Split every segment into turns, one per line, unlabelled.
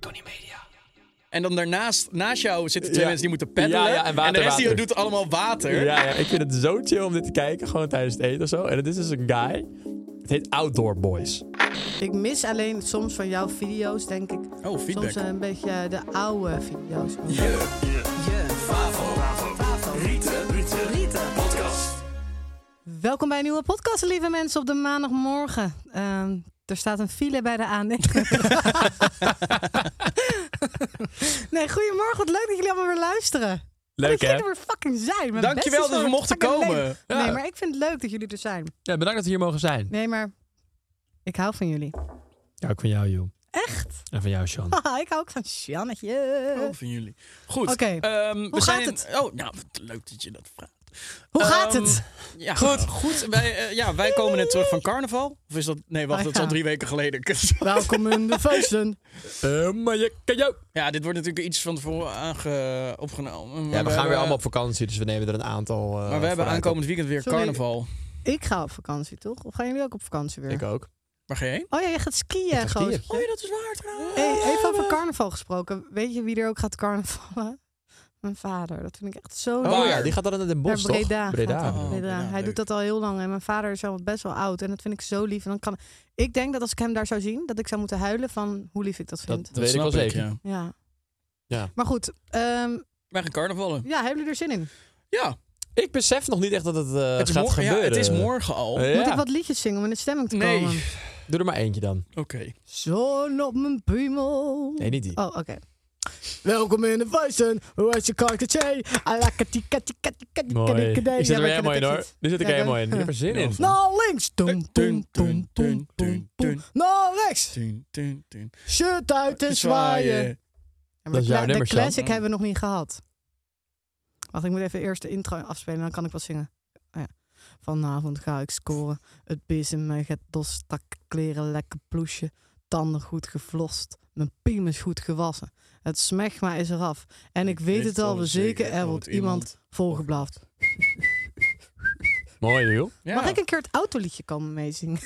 Tony Media.
En dan daarnaast, naast jou zitten twee
Ja.
mensen die moeten peddelen.
Ja, ja, en water,
de rest die
water.
doet allemaal water.
Ja, ja, ik vind het zo chill om dit te kijken, gewoon tijdens het eten of zo. En het is dus een guy, het heet Outdoor Boys.
Ik mis alleen soms van jouw video's, denk ik.
Oh, feedback.
Soms eh, een beetje de oude video's. Welkom bij een nieuwe podcast, lieve mensen, op de maandagmorgen. Ehm, er staat een file bij de A9. nee, goedemorgen. Wat leuk dat jullie allemaal weer luisteren.
Leuk
dat
hè?
jullie er weer fucking zijn. Mijn
Dankjewel dat
best is
we
wel
mochten
fucking
komen.
leuk.
Ja.
Nee, maar ik vind het leuk dat jullie er zijn.
Ja, bedankt dat we hier mogen zijn.
Nee, maar ik hou van jullie.
Ja, ook van jou, joh.
Echt?
En van jou, Sean.
Haha, ik hou ook van Sjannetje.
Oh, van jullie. Goed.
Oké.
ehm, we
Hoe
zijn
gaat
in- Oh, nou, wat leuk dat je dat vraagt.
Hoe gaat
Ehm,
het?
Ja, goed. goed. Wij, eh, ja, wij komen net terug van carnaval. Of is dat... Nee, wacht,
Ah,
dat is al
ja. Nou.
drie weken geleden.
Welkom in de feesten.
Eh, maar je kan jou.
ja, dit wordt natuurlijk iets van tevoren aange... opgenomen. Maar
Ja, we gaan
hebben-
weer allemaal op vakantie, dus we nemen er een aantal. eh,
Maar we hebben
vooruit
aankomend weekend weer
Sorry.
carnaval.
Ik ga op vakantie, toch? Of gaan jullie ook op vakantie
op.
weer?
Ik ook.
Waar ga je heen?
Oh ja, je gaat skiën,
ga
gozer.
skiën.
Oh ja, dat is waar trouwens.
Hey, even over carnaval gesproken. Weet je wie er ook gaat carnavallen? Mijn vader. Dat vind ik echt zo leuk.
Oh
Waar?
ja, die gaat dan naar Den
Naar
Bosch, toch?
Breda. gaat hij.
Oh,
Breda.
Breda,
Hij
leuk.
doet dat al heel lang. En mijn vader is al best wel oud. En dat vind ik zo lief. En dan kan... Ik denk dat als ik hem daar zou zien, dat ik zou moeten huilen van hoe lief ik dat vind.
Dat weet ik wel
snap
zeker.
ja.
Ja.
Ja.
Maar goed, ehm,
Wij gaan
Eh,
carnavallen.
ja, hebben jullie er zin in?
Ja,
Ik besef nog niet echt dat het, eh,
het, is
gaat
mor- ja,
gebeuren.
het is morgen al.
Eh,
Oké.
ja.
Moet ik wat liedjes zingen om in de stemming te
Nee.
komen?
Doe er maar eentje dan.
Zon op mijn piemel.
Nee, niet die.
Oh, oké. Welkom in de Vuisten. Hoe is je karketje? Alakati, kati, kati, kati,
Mooi. Ik zit er weer helemaal in hoor. Nu zit ik er helemaal in. Ik heb er zin in.
Naar links. Toem, Eh, toem, toem, toem, toem, toem. Naar rechts.
Tun, tun, tun.
Shirt uit en zwaaien. Ja, maar
Dat is jouw
de
nummer, Sjan.
classic hebben we nog niet gehad. Wacht, ik moet even eerst de intro afspelen, dan kan ik wat zingen. Oh ja. Vanavond ga ik scoren. Het beest in mij gaat los. Tak, kleren lekker ploesje. Tanden goed geflost. Mijn piem is goed gewassen. Het smegma is eraf. En ik weet het al, we zeker er wordt iemand volgeblaft.
Mooi, joh.
Ja.
Mag ik een keer het autoliedje komen meezingen?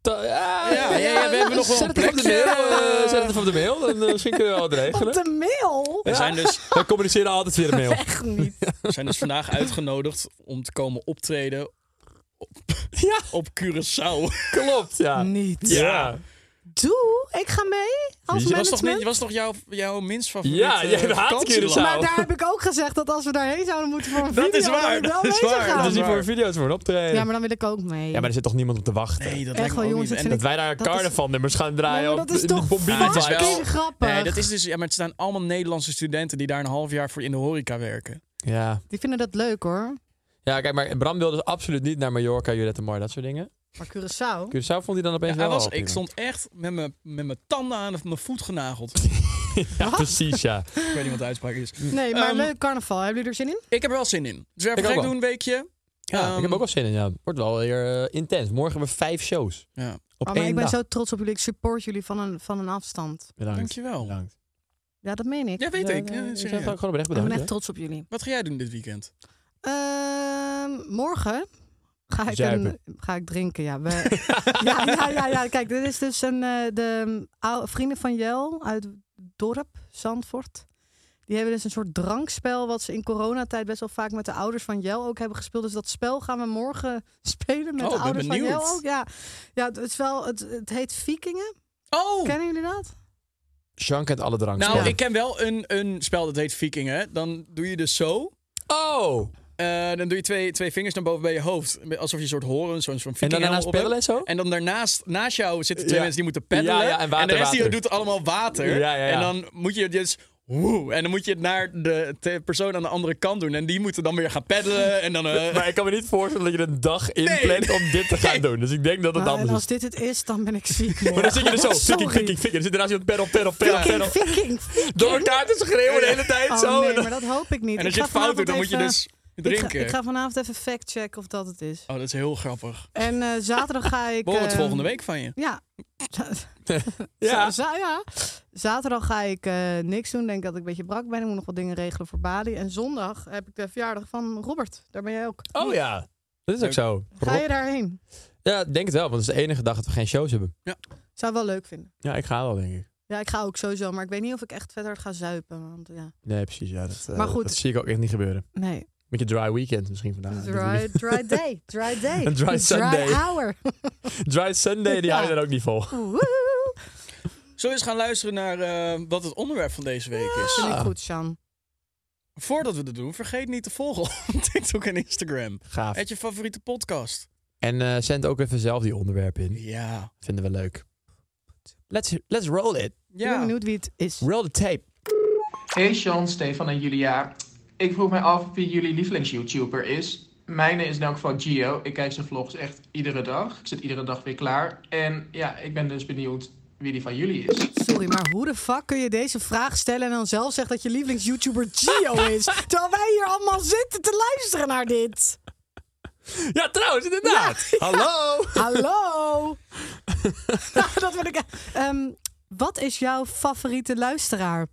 Ta- Ah, ja,
Ja, ja, ja, we hebben nog wel
zet
een
het even op de
plekje.
mail. eh, zet het even op de mail. Dan eh, misschien kunnen we wel het
Op
regelen.
de mail?
We zijn dus,
We communiceren altijd via de mail.
Echt niet.
we zijn dus vandaag uitgenodigd om te komen optreden
Ja,
op Curaçao.
klopt. Ja.
Niet.
Ja,
Doe, ik ga mee als
Wie?
Was toch,
management.
niet, was toch jouw, jouw minst favoriete
ja
eh,
jij haat
vakantieland?
Curaçao.
Maar daar heb ik ook gezegd dat als we daarheen zouden moeten voor een
Dat
video,
is waar,
ik
dat
wel
is
mee zou
waar,
gaan.
Dat is niet
waar.
voor een video, het is voor een optreden.
Ah, Ja, maar dan wil ik ook mee.
Ja, maar er zit toch niemand op te wachten.
Nee, dat
Echt
lijkt me
wel,
ook
jongens,
niet.
dat
En
dat
dat-
wij daar
dat is-
carnaval nummers gaan draaien.
Nee, maar dat is
op,
toch
Ja, het is
fucking
wel-
grappig.
Nee, dat is dus, ja, maar het zijn allemaal Nederlandse studenten die daar een half jaar voor in de horeca werken.
Ja.
Die vinden dat leuk hoor.
ja, kijk, maar Bram wilde dus absoluut niet naar Mallorca, Jurette Mar, dat soort dingen.
Maar Curaçao?
Curaçao vond hij dan opeens
Ja, hij
wel
was,
al
ik
prima.
stond echt met mijn met mijn tanden aan of mijn voet genageld.
Ja, precies, ja.
ik weet niet wat de uitspraak is.
Nee, maar
Ehm,
leuk carnaval. Hebben jullie er zin in? Oh,
Ik heb er wel zin in. Dus we
Ik
even
ook
gek
wel.
doen een weekje.
ja
Ehm,
ik heb ook wel zin in, ja. Wordt wel weer eh, intens. Morgen hebben we vijf shows.
Ja,
Op
Oh, maar
één
ik ben
dag.
zo trots op jullie. Ik support jullie van een, van een afstand.
Bedankt.
dankjewel.
Bedankt.
Ja, dat meen ik.
Ja, weet ik. Ja,
Ik zeg
serieus.
het ook gewoon oprecht
Ik ben
bedankt.
echt
hè.
trots op jullie.
Wat ga jij doen dit weekend?
Ehm, morgen ga ik, een,
Zuipen.
ga ik drinken. Ja, we, ja, ja, ja, ja. Kijk, dit is dus een, eh, de mm, oude vrienden van Jel uit het dorp Zandvoort. Die hebben dus een soort drankspel, wat ze in coronatijd best wel vaak met de ouders van Jel ook hebben gespeeld. Dus dat spel gaan we morgen spelen met
Oh,
de
ben
ouders van
benieuwd.
Jel ook. Ja, ja het, is wel, het, het heet Vikingen.
Oh!
Kennen jullie dat?
Sean kent alle drank.
Nou, ik ken wel een, een spel dat heet Vikingen. Dan doe je dus zo.
Oh!
Eh, dan doe je twee, twee vingers naar boven bij je hoofd. Alsof je een soort horen, zo'n soort
En dan
vikinghengel
daarnaast
op hebt.
peddelen en zo?
En dan daarnaast, naast jou zitten twee
Ja.
mensen die moeten peddelen.
Ja, ja, en water,
de rest die
water.
doet allemaal water.
Ja, ja, ja.
En dan moet je dus... Woe, en dan moet je het naar de, de persoon aan de andere kant doen. En die moeten dan weer gaan peddelen. En dan... eh,
Maar ik kan me niet voorstellen dat je er een dag inplant om dit te gaan doen. Dus ik denk dat het
Nou, en
anders
als
is.
dit het is, dan ben ik ziek.
Maar dan zit je dus er zo,
Sorry.
fikking, fikking, fikking. Dan zit er naast je op pedal, pedal, pedal, pedal.
Viking.
Door elkaar te schreeuwen de hele tijd
Oh
zo.
nee,
En dan-
maar dat hoop ik niet.
en als
Ik
je
ga
het fout doet, dan moet je
vanavond
dus
even- Ik ga,
drinken.
ik ga vanavond even factchecken of dat het is.
Oh, dat is heel grappig.
En eh, zaterdag ga ik...
We horen
Ehm.
het
eh,
volgende week van je.
Ja.
Ja.
ja. ja. Zaterdag ga ik eh, niks doen. Denk dat ik een beetje brak ben. Ik moet nog wat dingen regelen voor Bali. En zondag heb ik de verjaardag van Robert. Daar ben jij ook.
Oh ja, dat is ook zo.
Ga je daarheen?
Ja, ik denk het wel, want het is de enige dag dat we geen shows hebben.
Zou het wel leuk vinden.
Ja, ik ga wel, denk ik.
Ja, ik ga ook sowieso. Maar ik weet niet of ik echt verder ga zuipen. Want ja,
Nee, precies. Ja, dat, eh,
Maar goed.
dat zie ik ook echt niet gebeuren.
nee.
Met je dry weekend misschien vandaag.
Dry, dry day. Dry day.
Een dry Sunday.
hour.
Dry Sunday, die
Ja.
hou je dan ook niet vol.
Woehoe.
Zullen we eens gaan luisteren naar eh, wat het onderwerp van deze week is?
Ah.
Vind ik goed, Sjan.
Voordat we dat doen, vergeet niet te volgen op TikTok en Instagram.
Gaaf.
Het je favoriete podcast.
En eh zend ook even zelf die onderwerpen in.
Ja.
Vinden we leuk. Let's, let's roll it.
Ik ben
Ja.
benieuwd wie het is.
Roll the tape.
Hey Sean, Stefan en Julia. Ik vroeg mij af wie jullie lievelings-YouTuber is. Mijne is in elk geval Gio. Ik kijk zijn vlogs echt iedere dag. Ik zit iedere dag weer klaar. En ja, ik ben dus benieuwd wie die van jullie is.
Sorry, maar hoe de fuck kun je deze vraag stellen en dan zelf zegt dat je lievelings-YouTuber Gio is? terwijl wij hier allemaal zitten te luisteren naar dit.
Ja, trouwens, inderdaad. Hallo.
Hallo! Nou, dat word ik. Ehm, wat is jouw favoriete luisteraar?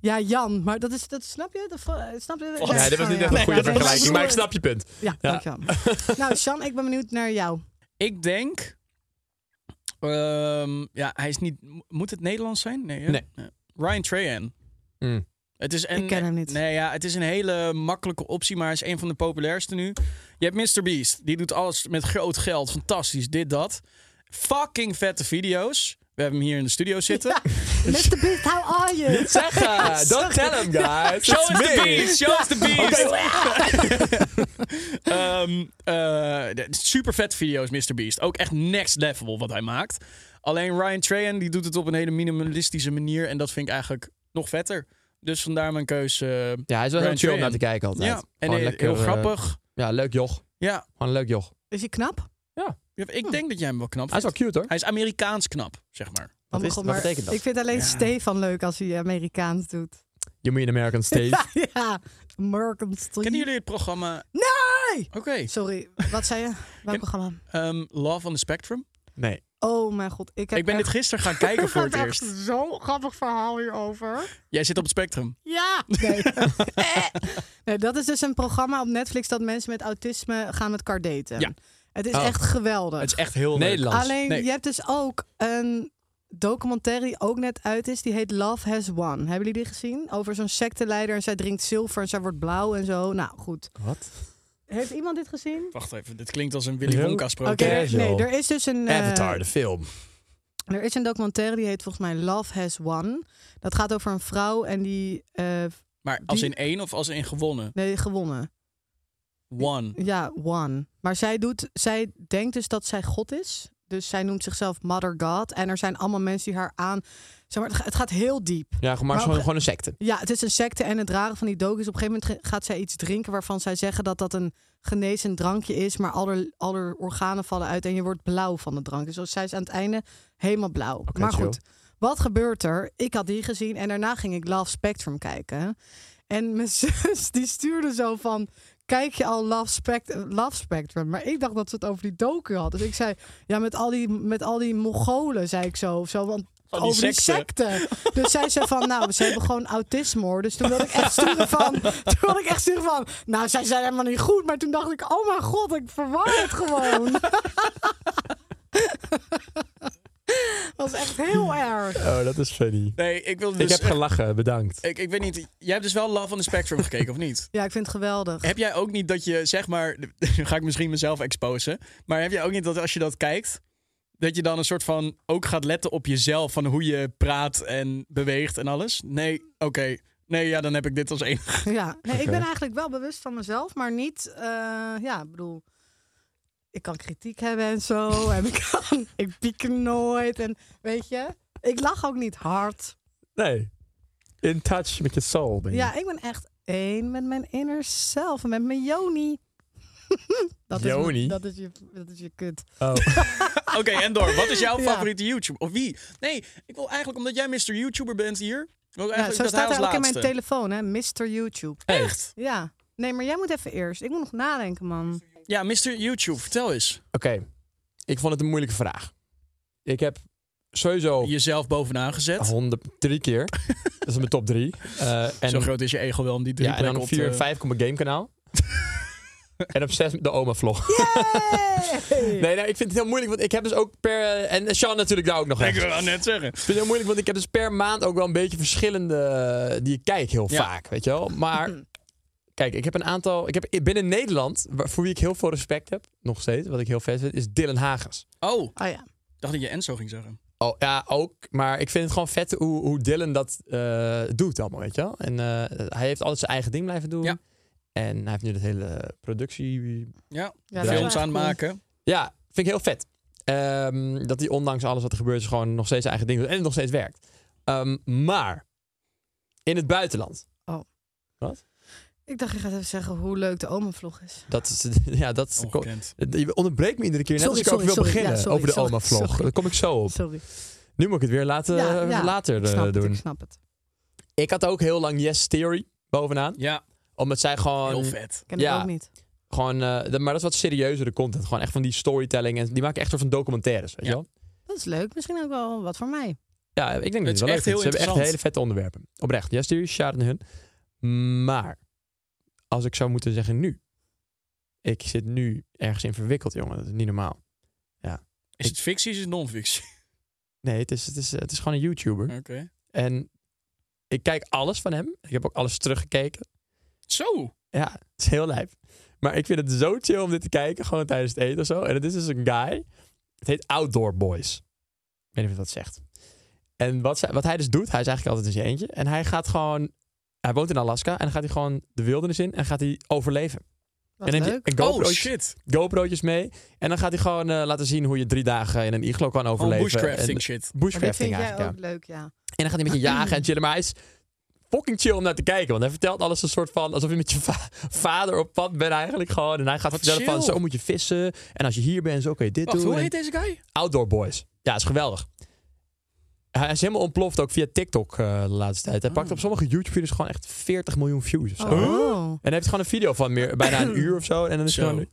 Ja, Jan, maar dat is, dat snap je? Dat, va- snap je?
Ja, dat was
oh,
niet
ja.
echt een goede
Nee, dat was
vergelijking,
een
maar ik
soort-
snap je punt.
Ja,
Ja.
dankjewel. nou, Sjan, ik ben benieuwd naar jou.
Ik denk. ehm, ja, hij is niet. mo- Moet het Nederlands zijn? Nee. hè?
Nee.
Ryan Trahan.
Mm.
Het is een,
Ik ken hem niet.
Nee, ja, het is een hele makkelijke optie, maar hij is een van de populairste nu. Je hebt Mr. Beast. Die doet alles met groot geld. Fantastisch. Dit, dat. Fucking vette video's. We hebben hem hier in de studio zitten.
Mr. Beast, how are you?
Zeggen, eh, don't tell him, guys.
Show us the
me.
beast! Show us the beast! Ehm, eh, de- super vet video's, Mr. Beast. Ook echt next level wat hij maakt. Alleen Ryan Trahan die doet het op een hele minimalistische manier. En dat vind ik eigenlijk nog vetter. Dus vandaar mijn keuze. eh,
Ja, hij is wel heel
Brian
chill om
Trahan.
naar te kijken altijd.
ja, en
Gewoon
heel,
lekker,
heel
eh,
grappig.
Ja, leuk joch.
Ja,
Gewoon een leuk joch.
Is hij knap?
Ja, ik denk dat jij hem wel knap
Hm. Hij is
vindt.
wel cute, hoor.
Hij is Amerikaans knap, zeg maar.
Oh mijn
is- wat
god, maar
betekent dat?
Ik vind alleen Stefan leuk als hij Amerikaans doet.
You mean American Steve.
ja, American
Hm.
Street.
Kennen jullie het programma?
Nee!
Oké.
Sorry, wat zei je? Welk programma?
ehm, Love on the Spectrum.
Nee.
Oh mijn god, ik heb
Ik ben dit
echt...
gisteren gaan kijken voor het
Ik heb
eerst.
echt zo'n grappig verhaal hierover.
Jij zit op het spectrum.
Ja! Nee. Eh. nee, dat is dus een programma op Netflix dat mensen met autisme gaan met elkaar daten.
Ja.
Het is
Oh.
echt geweldig.
Het is echt heel leuk.
Nederlands.
Alleen,
Nee.
je hebt dus ook een documentaire die ook net uit is. Die heet Love Has Won. Hebben jullie die gezien? Over zo'n secteleider en zij drinkt zilver en zij wordt blauw en zo. Nou, goed.
Wat?
Heeft iemand dit gezien?
Wacht even, dit klinkt als een Willy
Heel-
Wonka sprookje.
Oké.
er- nee,
Casual.
er is dus een... eh,
Avatar, de film.
Er is een documentaire die heet volgens mij Love Has Won. Dat gaat over een vrouw en die eh
Maar als
Die-
in één of als in gewonnen?
nee, gewonnen.
One.
Ja, won. Maar zij doet, zij denkt dus dat zij God is. Dus zij noemt zichzelf Mother God. En er zijn allemaal mensen die haar aan. Zeg maar, het ga- het gaat heel diep.
Ja, maar,
Maar
gewoon,
op-
gewoon een secte.
Ja, het is een secte en het rare van die docu is op een gegeven moment ge- gaat zij iets drinken waarvan zij zeggen dat dat een genezend drankje is, maar al haar, al haar organen vallen uit en je wordt blauw van de drank. Dus als zij is aan het einde helemaal blauw. maar
chill.
goed, wat gebeurt er? Ik had die gezien en daarna ging ik Love Spectrum kijken. En mijn zus die stuurde zo van, kijk je al Love, Spect- Love Spectrum? Maar ik dacht dat ze het over die docu had. Dus ik zei, ja met al die, met al die Mongolen zei ik zo of zo, want...
Van die
over die
secte.
secte te. Dus zij zei van, nou, ze hebben gewoon autisme hoor. Dus toen wilde ik echt sturen van, toen wilde ik echt sturen van, nou, zij zijn helemaal niet goed. Maar toen dacht ik, oh mijn god, ik verwar het gewoon. Dat is echt heel erg.
Oh, dat is funny.
Nee, ik wilde
Ik
dus...
heb
echt-
gelachen, bedankt.
ik, ik weet niet, jij hebt dus wel Love on the Spectrum gekeken, of niet?
Ja, ik vind het geweldig.
Heb jij ook niet dat je, zeg maar, nu ga ik misschien mezelf exposen, maar heb jij ook niet dat als je dat kijkt, dat je dan een soort van ook gaat letten op jezelf, van hoe je praat en beweegt en alles? Nee, oké. Nee, ja, dan heb ik dit als één.
Ja, nee, ik
Oké.
ben eigenlijk wel bewust van mezelf, maar niet. eh, ja, ik bedoel, ik kan kritiek hebben en zo. en ik, kan, ik piek nooit. En weet je, ik lach ook niet hard.
Nee. In touch met je soul ben je.
Ja, ik ben echt één met mijn inner self en met mijn Joni. dat Is,
Joni?
mijn- dat, is je, dat is je kut.
Oh.
Oké, en door. Wat is jouw
Ja.
favoriete YouTuber? Of wie? Nee, ik wil eigenlijk, omdat jij Mr. YouTuber bent hier, wil ik
Ja,
eigenlijk dat
zo
hij
staat
als
hij ook in mijn
laatste.
telefoon, hè? Mr. YouTube.
Echt?
Ja. Nee, maar jij moet even eerst. Ik moet nog nadenken, man.
Ja, Mr. YouTube, vertel eens.
Oké, ik vond het een moeilijke vraag. Ik heb sowieso
Jezelf bovenaan gezet.
103 keer. dat is mijn top 3. en,
Zo groot is je ego wel om die drie
ja, en dan
plekken
op
op
4 en
te-
5 komt mijn gamekanaal. en op 6 de oma-vlog.
Hey!
Nee, nee, ik vind het heel moeilijk, want ik heb dus ook per... eh, En Sean natuurlijk daar ook nog
Ik
echt.
wil dat net zeggen.
Ik vind het heel moeilijk, want ik heb dus per maand ook wel een beetje verschillende eh, die ik kijk heel
Ja.
vaak, weet je wel. Maar kijk, ik heb een aantal... Ik heb binnen Nederland, waar- voor wie ik heel veel respect heb, nog steeds, wat ik heel vet vind, is Dylan Hagens.
Oh,
Oh ja.
ik dacht dat je Enzo ging zeggen.
Oh, ja, ook. Maar ik vind het gewoon vet hoe, hoe Dylan dat eh, doet allemaal, weet je wel. En eh, hij heeft altijd zijn eigen ding blijven doen.
Ja.
En hij heeft nu dat hele productie...
Ja,
ja dat is
films
echt
aan het
cool.
maken.
Ja, vind ik heel vet. Ehm, dat hij ondanks alles wat er gebeurd is gewoon nog steeds zijn eigen ding doet. En het nog steeds werkt. Ehm, maar, in het buitenland.
Ik dacht, je gaat even zeggen hoe leuk de oma-vlog is.
Dat is... Ja, dat is...
Oh, Ongekend.
Je onderbreekt me iedere keer net
Sorry,
als ik over
sorry,
wil
sorry.
beginnen.
Ja, sorry,
over de
sorry,
oma-vlog.
sorry.
Daar kom ik zo op.
Sorry.
Nu moet ik het weer laten,
Ja, ja,
later
Ik snap
eh,
het,
doen.
ik
Ik,
snap het.
had ook heel lang Yes Theory bovenaan.
Ja,
Omdat zij
heel
gewoon...
vet.
Ken
Ja.
ik ook niet.
Gewoon, eh, dat- maar dat is wat serieuzere content. Gewoon echt van die storytelling. En die maken echt soort van documentaires, weet
Ja.
je wel?
Dat is leuk. Misschien ook wel wat voor mij.
Ja, ik denk dat
Het is
het wel
echt
leuk
heel
is. Ze hebben echt
interessant.
hele vette onderwerpen. Oprecht. Ja, stuur shout naar hun. Maar, als ik zou moeten zeggen nu. Ik zit nu ergens in verwikkeld, jongen. Dat is niet normaal.
Is het fictie, is het non-fictie?
Nee, het is, het is, het is gewoon een YouTuber.
Oké.
En ik kijk alles van hem. Ik heb ook alles teruggekeken.
Zo.
Ja, het is heel lijp. Maar ik vind het zo chill om dit te kijken, gewoon tijdens het eten of zo. En het is dus een guy, het heet Outdoor Boys. Ik weet niet of je dat zegt. En wat, zij- wat hij dus doet, hij is eigenlijk altijd in zijn eentje. En hij gaat gewoon, hij woont in Alaska en dan gaat hij gewoon de wildernis in en gaat hij overleven.
Wat
en dan
leuk.
hij een
Oh
GoPro'tje-
shit.
GoPro'tjes mee. En dan gaat hij gewoon eh, laten zien hoe je drie dagen in een iglo kan
Gewoon
overleven.
Oh, bushcrafting
En,
shit.
Maar dit vind
bushcrafting
jij ook
eigenlijk, ja.
leuk, ja.
En dan gaat hij een beetje jagen en chillen. Maar hij is fucking chill om naar te kijken. Want hij vertelt alles een soort van... Alsof je met je va- vader op pad bent eigenlijk gewoon. En hij gaat
Wat
vertellen van...
chill.
Zo moet je vissen. En als je hier bent, zo kun je dit
Wacht,
doen.
hoe
En
heet deze guy?
Outdoor Boys. Ja, is geweldig. Hij is helemaal ontploft ook via TikTok eh, de laatste tijd. Hij pakt
Oh.
op sommige YouTube-video's gewoon echt 40 miljoen views of zo.
Oh.
En hij heeft gewoon een video van meer, bijna een uur of zo. En dan is het
Zo.
gewoon...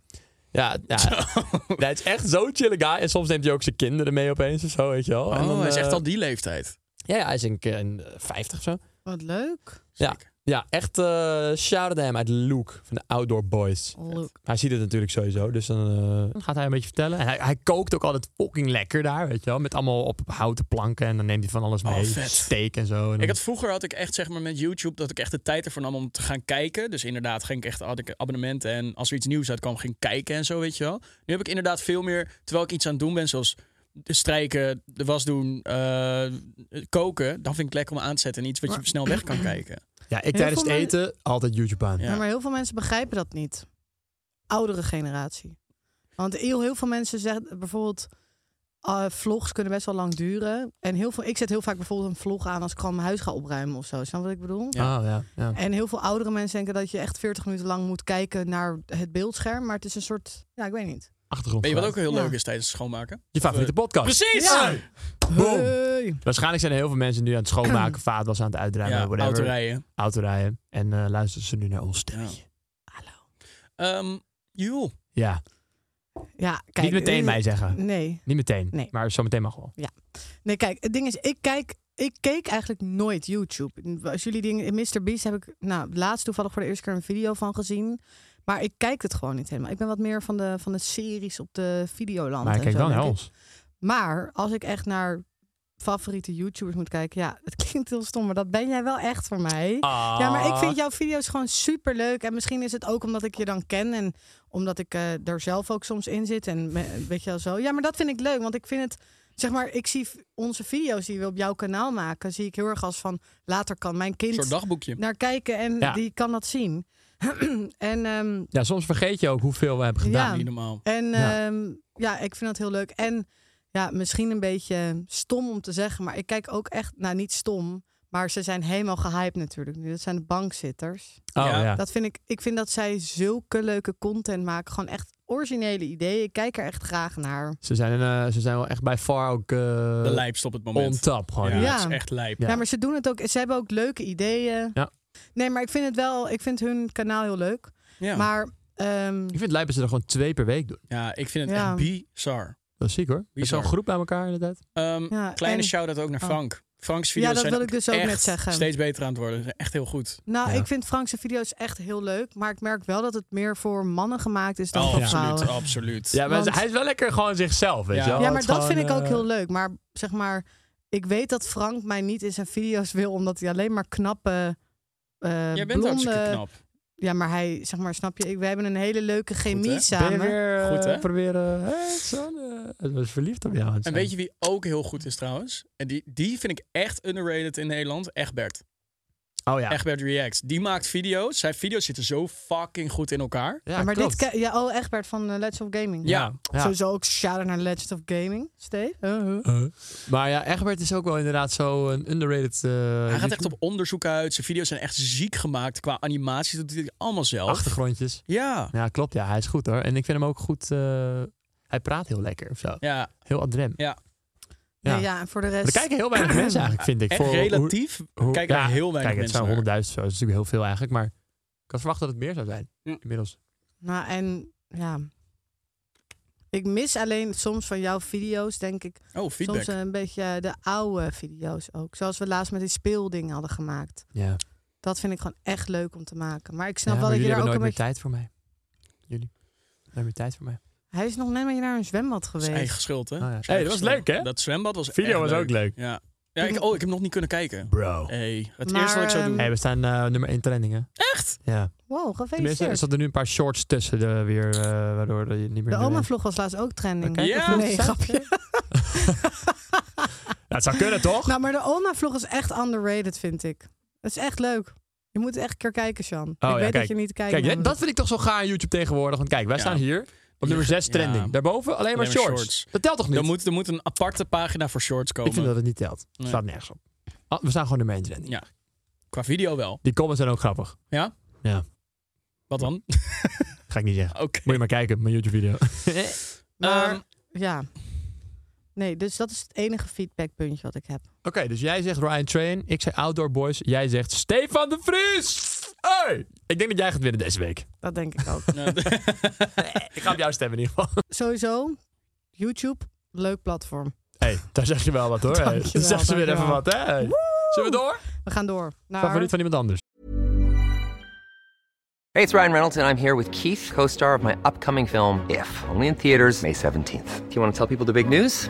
Ja, ja. Nee, hij is echt zo'n chille guy. En soms neemt hij ook zijn kinderen mee opeens of zo, weet je wel. en
Oh,
dan,
hij is echt
eh,
al die leeftijd.
Ja, ja, hij is een, een eh, 50 of zo.
Wat leuk.
Ja,
Sick.
ja echt eh shout-out naar hem uit Luke van de Outdoor Boys.
Leuk.
Hij ziet het natuurlijk sowieso, dus dan eh, gaat hij een beetje vertellen. En hij, hij kookt ook altijd fucking lekker daar, weet je wel. Met allemaal op houten planken en dan neemt hij van alles
Oh,
mee.
vet.
Steak en zo. En dan-
Ik had, vroeger had ik echt zeg maar met YouTube dat ik echt de tijd ervoor nam om te gaan kijken. Dus inderdaad ging ik echt had ik abonnementen en als er iets nieuws uitkwam ging ik kijken en zo weet je wel. Nu heb ik inderdaad veel meer terwijl ik iets aan het doen ben zoals strijken, de was doen, eh, koken. Dan vind ik het lekker om aan te zetten en iets wat je
Maar-
snel weg kan kijken.
Ja, ik tijdens het
veel
eten altijd YouTube aan.
Ja.
Ja, maar heel veel mensen begrijpen dat niet. Oudere generatie. Want heel, heel veel mensen zeggen bijvoorbeeld... eh, vlogs kunnen best wel lang duren. En heel veel, ik zet heel vaak bijvoorbeeld een vlog aan als ik gewoon mijn huis ga opruimen of zo. Snap je wat ik bedoel?
Ja. Ah, ja, ja.
En heel veel oudere mensen denken dat je echt 40 minuten lang moet kijken naar het beeldscherm. Maar het is een soort, ja, ik weet niet.
Achtergrond.
Weet je wat ook heel
Ja.
leuk is tijdens het schoonmaken?
Je favoriete podcast.
Precies!
Ja.
Boom.
Hey.
Waarschijnlijk zijn er heel veel mensen nu aan het schoonmaken, vaatwas aan het uitruimen,
Ja,
whatever.
autorijden.
Autorijden. En eh, luisteren ze nu naar ons stemmetje.
Ehm joh.
Ja,
Ja, kijk. eh,
niet meteen mij zeggen.
Nee,
Niet meteen,
Nee.
maar zometeen mag wel.
Nee, kijk, het ding is, ik kijk, ik keek eigenlijk nooit YouTube. Als jullie dingen, Mr. Beast heb ik, nou, laatst toevallig voor de eerste keer een video van gezien. Maar ik kijk het gewoon niet helemaal. Ik ben wat meer van de, van de series op de Videoland.
Maar
en
kijk
zo,
dan
denk
naar
ik.
ons.
Maar als ik echt naar favoriete YouTubers moet kijken. Ja, het klinkt heel stom, maar dat ben jij wel echt voor mij.
Ah.
Ja, maar ik vind jouw video's gewoon super leuk. En misschien is het ook omdat ik je dan ken en omdat ik eh, er zelf ook soms in zit. En me- weet je wel zo. Ja, maar dat vind ik leuk, want ik vind het. Zeg maar, ik zie v- onze video's die we op jouw kanaal maken, zie ik heel erg als van later kan mijn
Een soort
kind
dagboekje.
naar kijken en
Ja.
die kan dat zien. en ehm,
Ja, soms vergeet je ook hoeveel we hebben gedaan.
Ja.
Niet normaal.
en
Ja.
ja. ja, ik vind dat heel leuk. En ja, misschien een beetje stom om te zeggen, maar ik kijk ook echt, nou niet stom, maar ze zijn helemaal gehyped natuurlijk nu. Dat zijn de bankzitters.
Oh ja.
Ja.
Dat vind ik, ik vind dat zij zulke leuke content maken. Gewoon echt originele ideeën. Ik kijk er echt graag naar.
Ze, zijn, eh, ze zijn wel echt bij far ook eh,
De lijpst op het
on
moment.
top gewoon.
Ja,
Ja.
het is echt lijp.
Ja.
Ja. maar ze doen het ook. Ze hebben ook leuke ideeën.
Ja.
Nee, maar ik vind het wel, ik vind hun kanaal heel leuk.
Ja.
Maar ehm,
Ik vind het lijp dat ze er gewoon twee per week doen.
Ja, ik vind het
Ja.
echt bizar.
Dat is ziek hoor. Met
Bizar.
zo'n groep bij elkaar inderdaad.
Ehm,
Ja,
kleine
en-
shout-out ook naar
Oh.
Frank. Frank's video's
Ja, dat
zijn
wil ik dus ook
echt
net zeggen.
steeds beter aan het worden. Ze zijn echt heel goed.
nou,
Ja.
ik vind Frankse video's echt heel leuk. Maar ik merk wel dat het meer voor mannen gemaakt is dan
Oh,
voor
absoluut,
vrouwen.
absoluut.
Ja, maar
Want-
hij is wel lekker gewoon zichzelf, weet
Ja.
je wel.
Ja,
Het
maar
is
dat
gewoon,
vind ik ook
eh,
heel leuk. Maar zeg maar, ik weet dat Frank mij niet in zijn video's wil, omdat hij alleen maar knappe. eh
Jij bent hartstikke
blonde.
knap.
Ja, maar hij, zeg maar, snap je? Ik, we hebben een hele leuke chemie
hè? Ben
Ben je
samen.
weer eh,
Goed, hè?
proberen... Hé, zo, eh, het was verliefd op jou.
En weet je wie ook heel goed is trouwens? En die, die vind ik echt underrated in Nederland. Egbert.
Oh ja.
Egbert Reacts. Die maakt video's. Zijn video's zitten zo fucking goed in elkaar.
Ja,
Ja, maar
klopt.
dit, ke- ja, oh, Egbert van eh, Legends of Gaming.
Ja.
Ja.
Sowieso ook shout-out naar Legends of Gaming, Steve. Uh,
Eh. Maar ja, Egbert is ook wel inderdaad zo een underrated... eh,
Hij gaat echt
YouTuber.
op onderzoek uit. Zijn video's zijn echt ziek gemaakt. Qua animaties dat doet hij allemaal zelf.
Achtergrondjes.
Ja.
Ja, klopt. Ja, hij is goed hoor. En ik vind hem ook goed... eh, hij praat heel lekker of zo.
Ja.
Heel adrem.
ja.
Ja. Nee, ja, en voor de
Maar
rest...
er kijken heel weinig mensen eigenlijk, vind ik.
Echt
hoe-
relatief
hoe-
kijken er
ja,
heel weinig
kijk, het
mensen
zijn
naar.
100.000 zo. Dat is natuurlijk heel veel eigenlijk. Maar ik had verwacht dat het meer zou zijn.
Ja.
Inmiddels.
Nou, en ja... Ik mis alleen soms van jouw video's, denk ik,
Oh, feedback.
Soms eh, een beetje de oude video's ook. Zoals we laatst met die speelding hadden gemaakt.
Ja.
Dat vind ik gewoon echt leuk om te maken. Maar ik
Ja,
snap
maar
wel dat
jullie
je daar
hebben nooit
ook een
meer
beetje...
tijd voor mij. Jullie. Nooit meer tijd voor mij.
Hij is nog net met je naar een zwembad
Dat is
geweest.
eigen schuld, hè?
ja.
Is
Hey,
eigen
dat was
schuld.
leuk, hè?
Dat zwembad was
Video
echt
was ook leuk.
Ja. ja ik, oh, ik heb nog niet kunnen kijken.
Bro.
Hey, het
Maar,
eerste wat ik zou
ehm,
doen.
Eh, Hey, we staan eh, nummer 1 trending, hè?
Echt?
Ja.
Wow,
Tenminste, er
gefeliciteerd.
zaten nu een paar shorts tussen de, weer, eh, waardoor je niet meer...
De
eh,
oma-vlog was laatst ook trending.
Oké.
Ja.
nee, grapje.
Nou, het zou kunnen, toch?
Nou, maar de oma-vlog is echt underrated, vind ik. Het is echt leuk. Je moet echt een keer kijken, Sjan. ik
Oh, ja,
weet
kijk.
dat je niet kijkt.
Kijk,
naar
hè, dat vind ik toch zo gaar aan YouTube tegenwoordig. Want kijk, wij
Ja.
staan hier op nummer 6
Ja.
trending. Daarboven alleen maar,
maar
shorts.
shorts.
Dat telt toch niet?
Er moet, er moet een aparte pagina voor shorts komen.
Ik vind dat het niet telt.
Nee.
Staat nergens op. Ah, we staan gewoon nummer 1 trending.
Ja. Qua video wel.
Die comments zijn ook grappig.
Wat dan?
Ga ik niet zeggen.
Oké.
Moet je maar kijken, mijn YouTube-video. Eh,
Maar,
Ehm,
ja. Nee, dus dat is het enige feedbackpuntje wat ik heb.
Oké, dus jij zegt Ryan Train, ik zei Outdoor Boys, jij zegt Stefan de Vries. Hey, ik denk dat jij gaat winnen deze week.
Dat denk ik ook.
nou,
Ik ga op jou stemmen in ieder geval.
Sowieso, YouTube, leuk platform.
hey, daar zeg je wel wat hoor. Hey,
Dankjewel,
Dan zegt ze weer even
dankjewel.
wat. hè? Hey. Zullen we door?
We gaan door naar...
Favoriet van iemand anders.
Hey, it's Ryan Reynolds, and I'm here with Keith, co star of my upcoming film, If, only in theaters, May 17th. Do you want to tell people the big news?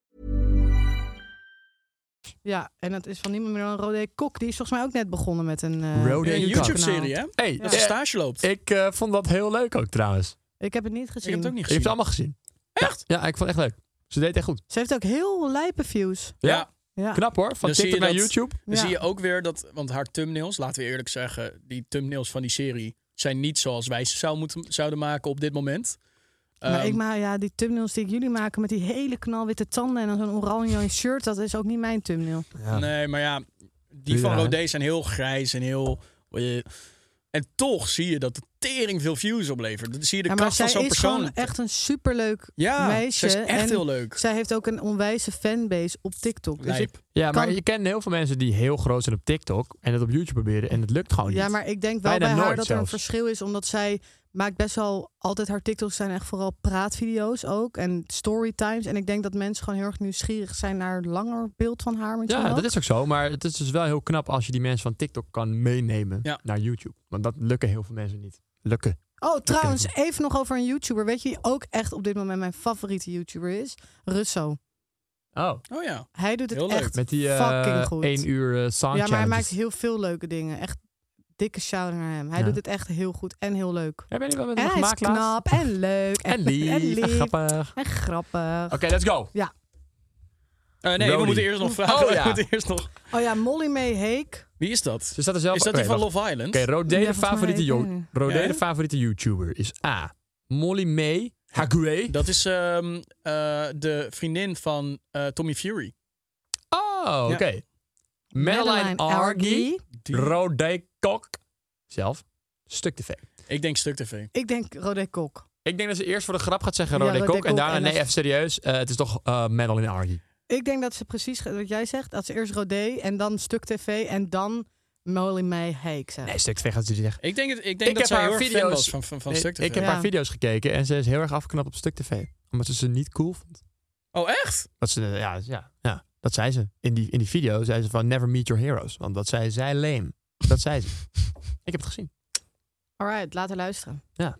Ja, en dat is van niemand meer dan Rodé Kok. Die is volgens mij ook net begonnen met een... eh,
Rodé
een
YouTube
YouTube-serie, hè?
Hey,
Dat
eh,
ze stage loopt.
ik eh, vond dat heel leuk ook trouwens.
Ik heb het niet
Ik heb
gezien.
het ook niet
Ik
gezien.
heb ze allemaal gezien.
Echt?
Ja, ik vond het echt leuk. Ze deed echt goed.
Ze heeft ook heel lijpe views.
Ja.
Ja.
Knap hoor, van
Dan zie
TikTok
je
naar
dat-
YouTube.
Dan
Ja.
zie je ook weer dat... Want haar thumbnails, laten we eerlijk zeggen... Die thumbnails van die serie zijn niet zoals wij ze zou moeten, zouden maken op dit moment.
maar
Ehm,
ik maar ja, die thumbnails die jullie maken met die hele knalwitte tanden en dan zo'n oranje shirt, dat is ook niet mijn thumbnail.
Ja.
Nee, maar ja... Die
Doe je
van
eraan, hè?
Rodé zijn heel grijs en heel... eh, En toch zie je dat de tering veel views oplevert. Dan zie je de
Ja, maar
kracht van
zij
zo'n
is
persoon.
gewoon echt een superleuk
ja,
meisje.
ze is echt
en
heel leuk.
Zij heeft ook een onwijze fanbase op TikTok. Dus ik,
Lijp.
Ja, maar
Kan-
je kent heel veel mensen die heel groot zijn op TikTok en dat op YouTube proberen en het lukt gewoon niet.
ja, maar ik denk wel
Bijna
bij haar
nooit
dat er een
zelfs.
verschil is. Omdat zij maakt best wel altijd haar TikToks zijn echt vooral praatvideo's ook. En storytimes. En ik denk dat mensen gewoon heel erg nieuwsgierig zijn naar een langer beeld van haar. misschien
Ja,
wel.
dat is ook zo. Maar het is dus wel heel knap als je die mensen van TikTok kan meenemen
Ja.
naar YouTube. Want dat lukken heel veel mensen niet. Lukken.
Oh, trouwens, even nog over een YouTuber. Weet je wie ook echt op dit moment mijn favoriete YouTuber is? Russo.
Oh.
Oh ja.
Hij doet het
Heel leuk.
echt
Met die
fucking
eh
goed.
één uur eh sound
ja, maar hij maakt
challenges.
heel veel leuke dingen. Echt dikke shout naar hem. Hij
Ja.
doet het echt heel goed en heel leuk.
Ja, ben je wel met
En
hem
hij is
gemaakt laatst?
knap en leuk.
En lief.
En, lief,
En grappig.
en grappig.
Oké, let's go.
Eh, nee, we
Brody.
moeten eerst nog vragen.
Oh, ja.
we moeten eerst nog...
Oh ja, Molly May Heek.
Wie is dat?
Ze staat er zelf...
Is dat
Oké,
die van
wacht.
Love Island?
Oké, Rodé
Ja,
de
volgens mij
favoriete,
weet
jo-
ik het.
Rodé
Ja,
de
hè?
favoriete YouTuber is A. Molly May Hague.
Dat is ehm, eh, de vriendin van eh, Tommy Fury.
Oh, oké.
Ja.
Madeline Argy.
Die-
Rodé Kok. Zelf. Stuk te vet.
Ik denk Stuk TV.
Ik denk Rodé Kok.
Ik denk dat ze eerst voor de grap gaat zeggen
Ja,
Rodé
Rodé
Kok. En
Kok
daarna,
en
nee,
als-
even serieus. eh, het is toch eh Madeline Argy.
Ik denk dat ze precies ge- wat jij zegt. Dat ze eerst Rodé en dan Stuk TV en dan Molly May Heek zegt.
Nee, stuk te vet gaat ze niet zeggen.
Ik denk, het- ik denk
Ik
dat
heb
zij
haar
heel erg fan
video's-
was van, van, van
Nee,
Stuk TV.
ik heb
Ja.
haar video's gekeken en ze is heel erg afgeknapt op stuk tv. Omdat ze ze niet cool vond.
Oh, echt?
Dat ze, eh, ja, ja, ja, dat zei ze. In die, in die video zei ze van never meet your heroes. Want dat zei zij lame. Dat zei ze. Ik heb het gezien.
Alright, laten we luisteren.
Ja.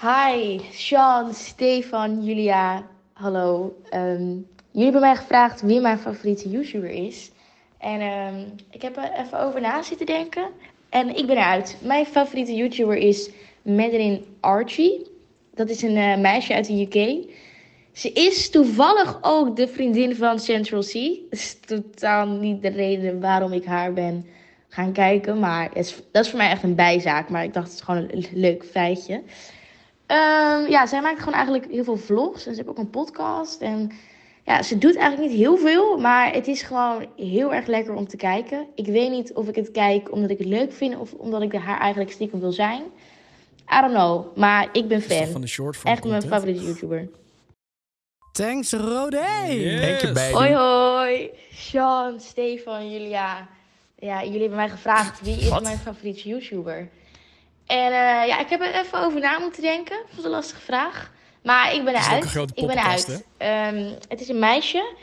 Hi, Sean, Stefan, Julia. Hallo. Ehm, jullie hebben mij gevraagd wie mijn favoriete YouTuber is. En ehm, ik heb er even over na zitten denken. En ik ben eruit. Mijn favoriete YouTuber is Madeline Archie. Dat is een eh, meisje uit de UK. Ze is toevallig ook de vriendin van Central C. Dat is totaal niet de reden waarom ik haar ben gaan kijken. Maar het is- dat is voor mij echt een bijzaak. Maar ik dacht, het is gewoon een leuk feitje. Ehm, ja, zij maakt gewoon eigenlijk heel veel vlogs. En ze heeft ook een podcast. En ja, ze doet eigenlijk niet heel veel. Maar het is gewoon heel erg lekker om te kijken. Ik weet niet of ik het kijk omdat ik het leuk vind. Of omdat ik haar eigenlijk stiekem wil zijn. I don't know. Maar ik ben
Dat is toch
fan.
van de short van
Echt mijn favoriete YouTuber.
Thanks Rodé.
Denk je bij
Hoi hoi, Sean, Stefan, Julia. Ja, jullie hebben mij gevraagd wie is
Wat?
mijn favoriete YouTuber. En eh, ja, ik heb er even over na moeten denken. Ik vond het een lastige vraag. Maar ik ben
Het is ook
eruit.
een grote
ik ben
poppenkast,
eruit. Ehm, het is een meisje.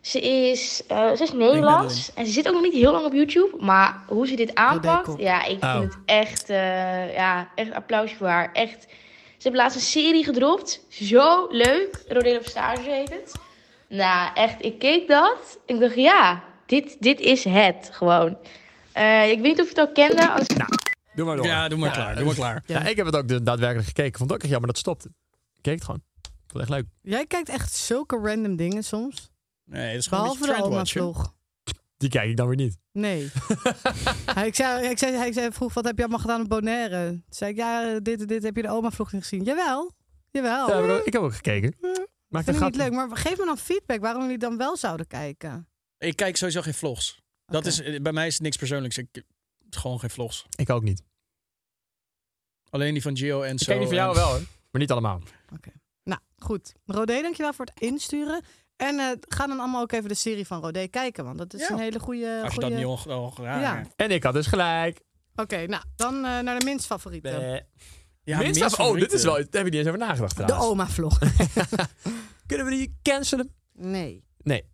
Ze is, eh, ze is Nederlands. En ze zit ook nog niet heel lang op YouTube. Maar hoe ze dit aanpakt,
op.
ja, ik
Oh.
vind het echt, eh, ja, echt applausje voor haar. Echt. Ze heeft laatst een serie gedropt. Zo leuk. Rodeel op stage heet het. Nou, echt, ik keek dat. Ik dacht, ja, dit, dit is het gewoon. Eh, ik weet niet of je het al kende. Als...
Doe maar door.
Ja, doe maar klaar. Doe maar klaar.
Ja, ik heb het ook de- daadwerkelijk gekeken. Vond het ook echt jammer dat het stopte. Ik keek het gewoon. Ik vond het echt leuk.
Jij kijkt echt zulke random dingen soms.
Nee, dat is gewoon
Behalve de oma
een beetje
vlog.
Die kijk ik dan weer niet.
Nee. hij, ik, zei, ik, zei, hij zei, vroeg, wat heb je allemaal gedaan op Bonaire? Toen zei ik, ja, dit en dit heb je de oma vlog niet gezien. Jawel, jawel.
Ja, heb ik, ook- ik heb ook gekeken. Maakt een
Oh. Vind ik
gat.
niet leuk, maar geef me dan feedback waarom jullie dan wel zouden kijken.
Ik kijk sowieso geen vlogs. Dat
Oké.
is, eh, bij mij is het niks persoonlijks. Ik, het is gewoon geen vlogs.
Ik ook niet.
Alleen die van Gio en
Ik
zo.
kijk die van jou
en-
wel, hoor. eh, Maar niet allemaal.
Nou, goed. Rodé, dankjewel voor het insturen. En eh, ga dan allemaal ook even de serie van Rodé kijken, want dat is
Ja.
een hele goede...
Als je dat oh, niet al, al gedaan
Ja.
hebt.
En ik had dus gelijk.
Oké, nou, dan eh, naar de minst favoriete.
Ja, minst
Minstens- oh, dit is
favorieten.
wel... Daar heb ik niet eens over nagedacht
de
trouwens.
oma vlog.
Kunnen we die cancelen?
nee.
Nee.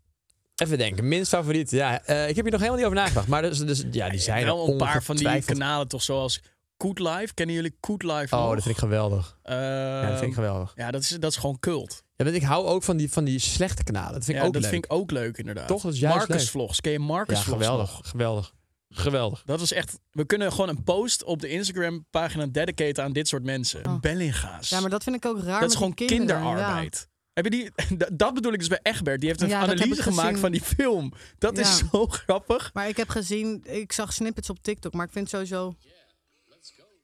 Even denken, minst favoriet. Ja, eh, ik heb hier nog helemaal niet over nagedacht. Maar dus, dus, ja, die zijn
wel
er
een paar van die
ongetwijfeld.
kanalen toch, zoals Koet Live. Kennen jullie Koet Live
Oh,
nog?
dat vind ik geweldig. Ja, dat vind ik
Ehm,
geweldig.
ja, dat is, dat is gewoon cult.
Ja, want ik hou ook van die, van die slechte kanalen. Dat vind ik
ja,
ook
dat
leuk.
vind ik ook leuk, inderdaad.
Toch, dat is juist
Marcus
leuk.
Vlogs. Ken je Marcus
ja,
Vlogs
geweldig,
nog?
geweldig. Geweldig.
Dat was echt... We kunnen gewoon een post op de Instagram-pagina dedicaten aan dit soort mensen. Bellinga's.
Oh. Ja, maar dat vind ik ook raar
dat is
met die
gewoon
kinderen, ja.
kinderarbeid. Heb je die, dat- dat bedoel ik dus bij Egbert. Die heeft een
Ja, dat heb
analyse
ik
gemaakt
gezien.
van die film. Dat is
Ja.
zo grappig.
Maar ik heb gezien, ik zag snippets op TikTok, maar ik vind sowieso...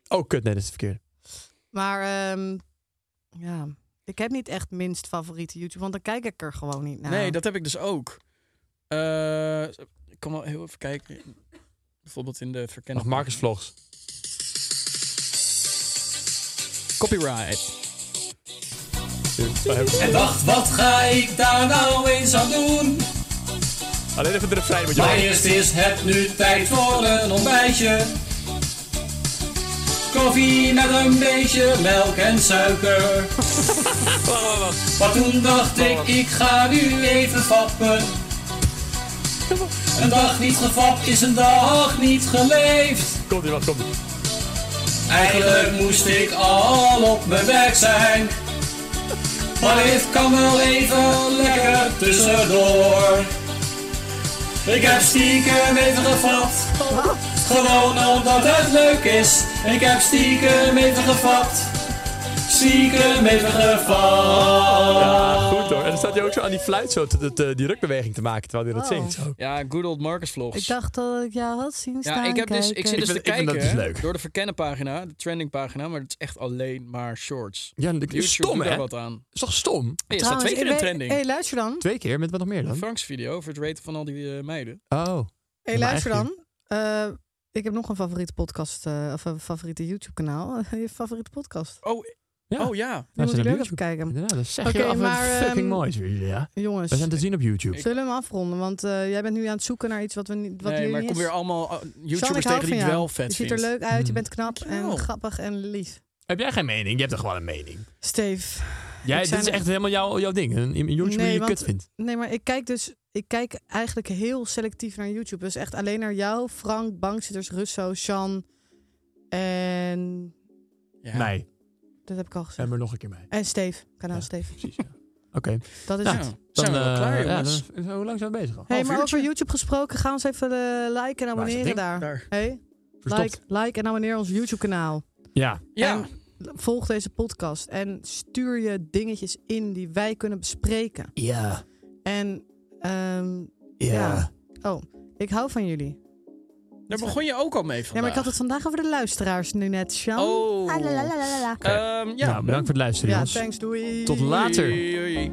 Oh, kut, nee, dat is het verkeerde.
Maar ehm, ja, ik heb niet echt minst favoriete YouTube, want dan kijk ik er gewoon niet naar.
Nee, dat heb ik dus ook. Eh, ik kan wel heel even kijken.
Bijvoorbeeld in de verkende...
Nog Marcus Vlogs.
Copyright.
En wacht, wat ga ik daar nou eens aan doen?
Alleen even de refrein met
Maar
jou.
eerst is het nu tijd voor een ontbijtje. Koffie met een beetje melk en suiker. Maar toen dacht ik, ik ga nu even fappen. Een dag niet gefapt is een dag niet geleefd.
Komt ie, wacht, komt ie.
Eigenlijk moest ik al op mijn werk zijn. Maar dit kan wel even lekker tussendoor. Ik heb stiekem even gevat. Gewoon omdat het leuk is. Ik heb stiekem even gevat. Stiekem even gevat.
Ja, goed hoor. En dan staat hij ook zo aan die fluit zo te, te- te- die rukbeweging te maken terwijl hij dat
Oh.
zingt. Zo.
Ja, good old Marcus Vlogs.
Ik dacht dat ik jou had zien staan
Ja, ik, heb dus, ik
kijken.
zit dus
vind-
te
ik vind dat
kijken
dus
hè,
leuk.
door de verkennen pagina, de trending pagina, maar het is echt alleen maar shorts.
Ja, dat
YouTube
is stom
doet daar
hè?
wat aan.
is toch stom?
Hey, je staat twee
Trouwens,
keer
ik
in
weet-
trending.
hey, luister dan.
Twee keer, met wat nog meer dan?
Frank's video voor het weten van al die eh, meiden.
Oh.
Hey,
Ja, maar
luister
eigenlijk-
dan. Eh, ik heb nog een favoriete podcast, eh, of een favoriete YouTube-kanaal. Je favoriete podcast.
Oh
Ja.
ja, oh, ja.
Die moet
zit
ik
op
ook
YouTube.
even kijken.
Ja, dat zeg
Oké,
je af
maar,
wat fucking
ehm,
moois weer, Julia.
Jongens,
We zijn te
dus-
zullen
zien op YouTube.
we hem afronden? Want eh, jij bent nu aan het zoeken naar iets wat we niet. Wat
nee,
hier
maar
niet
kom
is.
weer allemaal eh,
Sjan, ik
YouTubers
hou
tegen
van
die het
jou.
wel vet
Je ziet er
vindt. Hmm.
leuk uit, je
Mm.
bent knap en
Dankjewel.
grappig en lief.
Heb jij geen mening? Je hebt toch wel een mening?
Steve.
Jij,
Ik
dit
zijn
is
er-
echt helemaal jouw, jouw ding. Een, een YouTuber
Nee,
die je
want-
kut vindt.
Nee, maar ik kijk dus. Ik kijk eigenlijk heel selectief naar YouTube. Dus echt alleen naar jou, Frank, Bankzitters, Russo, Sjan. En.
Ja.
Mij.
Dat heb ik al gezegd.
En maar nog een keer mij.
En Steve. Kanaal
Ja.
Steve.
Precies, ja. Oké.
Dat is
Ja,
het.
Dan,
zijn we wel
eh,
klaar,
ja,
jongens.
dan- hoe lang zijn we bezig al?
Hey,
Half
maar
uurtje.
over YouTube gesproken, ga ons even eh, liken en
Waar is dat
abonneren
ding?
daar.
Daar.
Hey,
Verstopt.
like, like en abonneer ons YouTube kanaal.
Ja.
Ja,
En volg deze podcast en stuur je dingetjes in die wij kunnen bespreken.
Ja.
En ehm,
Ja.
Ja. oh, ik hou van jullie.
daar begon je ook al mee vandaag.
Ja, maar ik had het vandaag over de luisteraars nu net, Sjan.
Oh.
Ah, la, la, la, la, la.
Ehm, ja.
Nou, bedankt voor het luisteren,
Ja,
jongens.
thanks, doei.
Tot later.
Oei, oei, oei.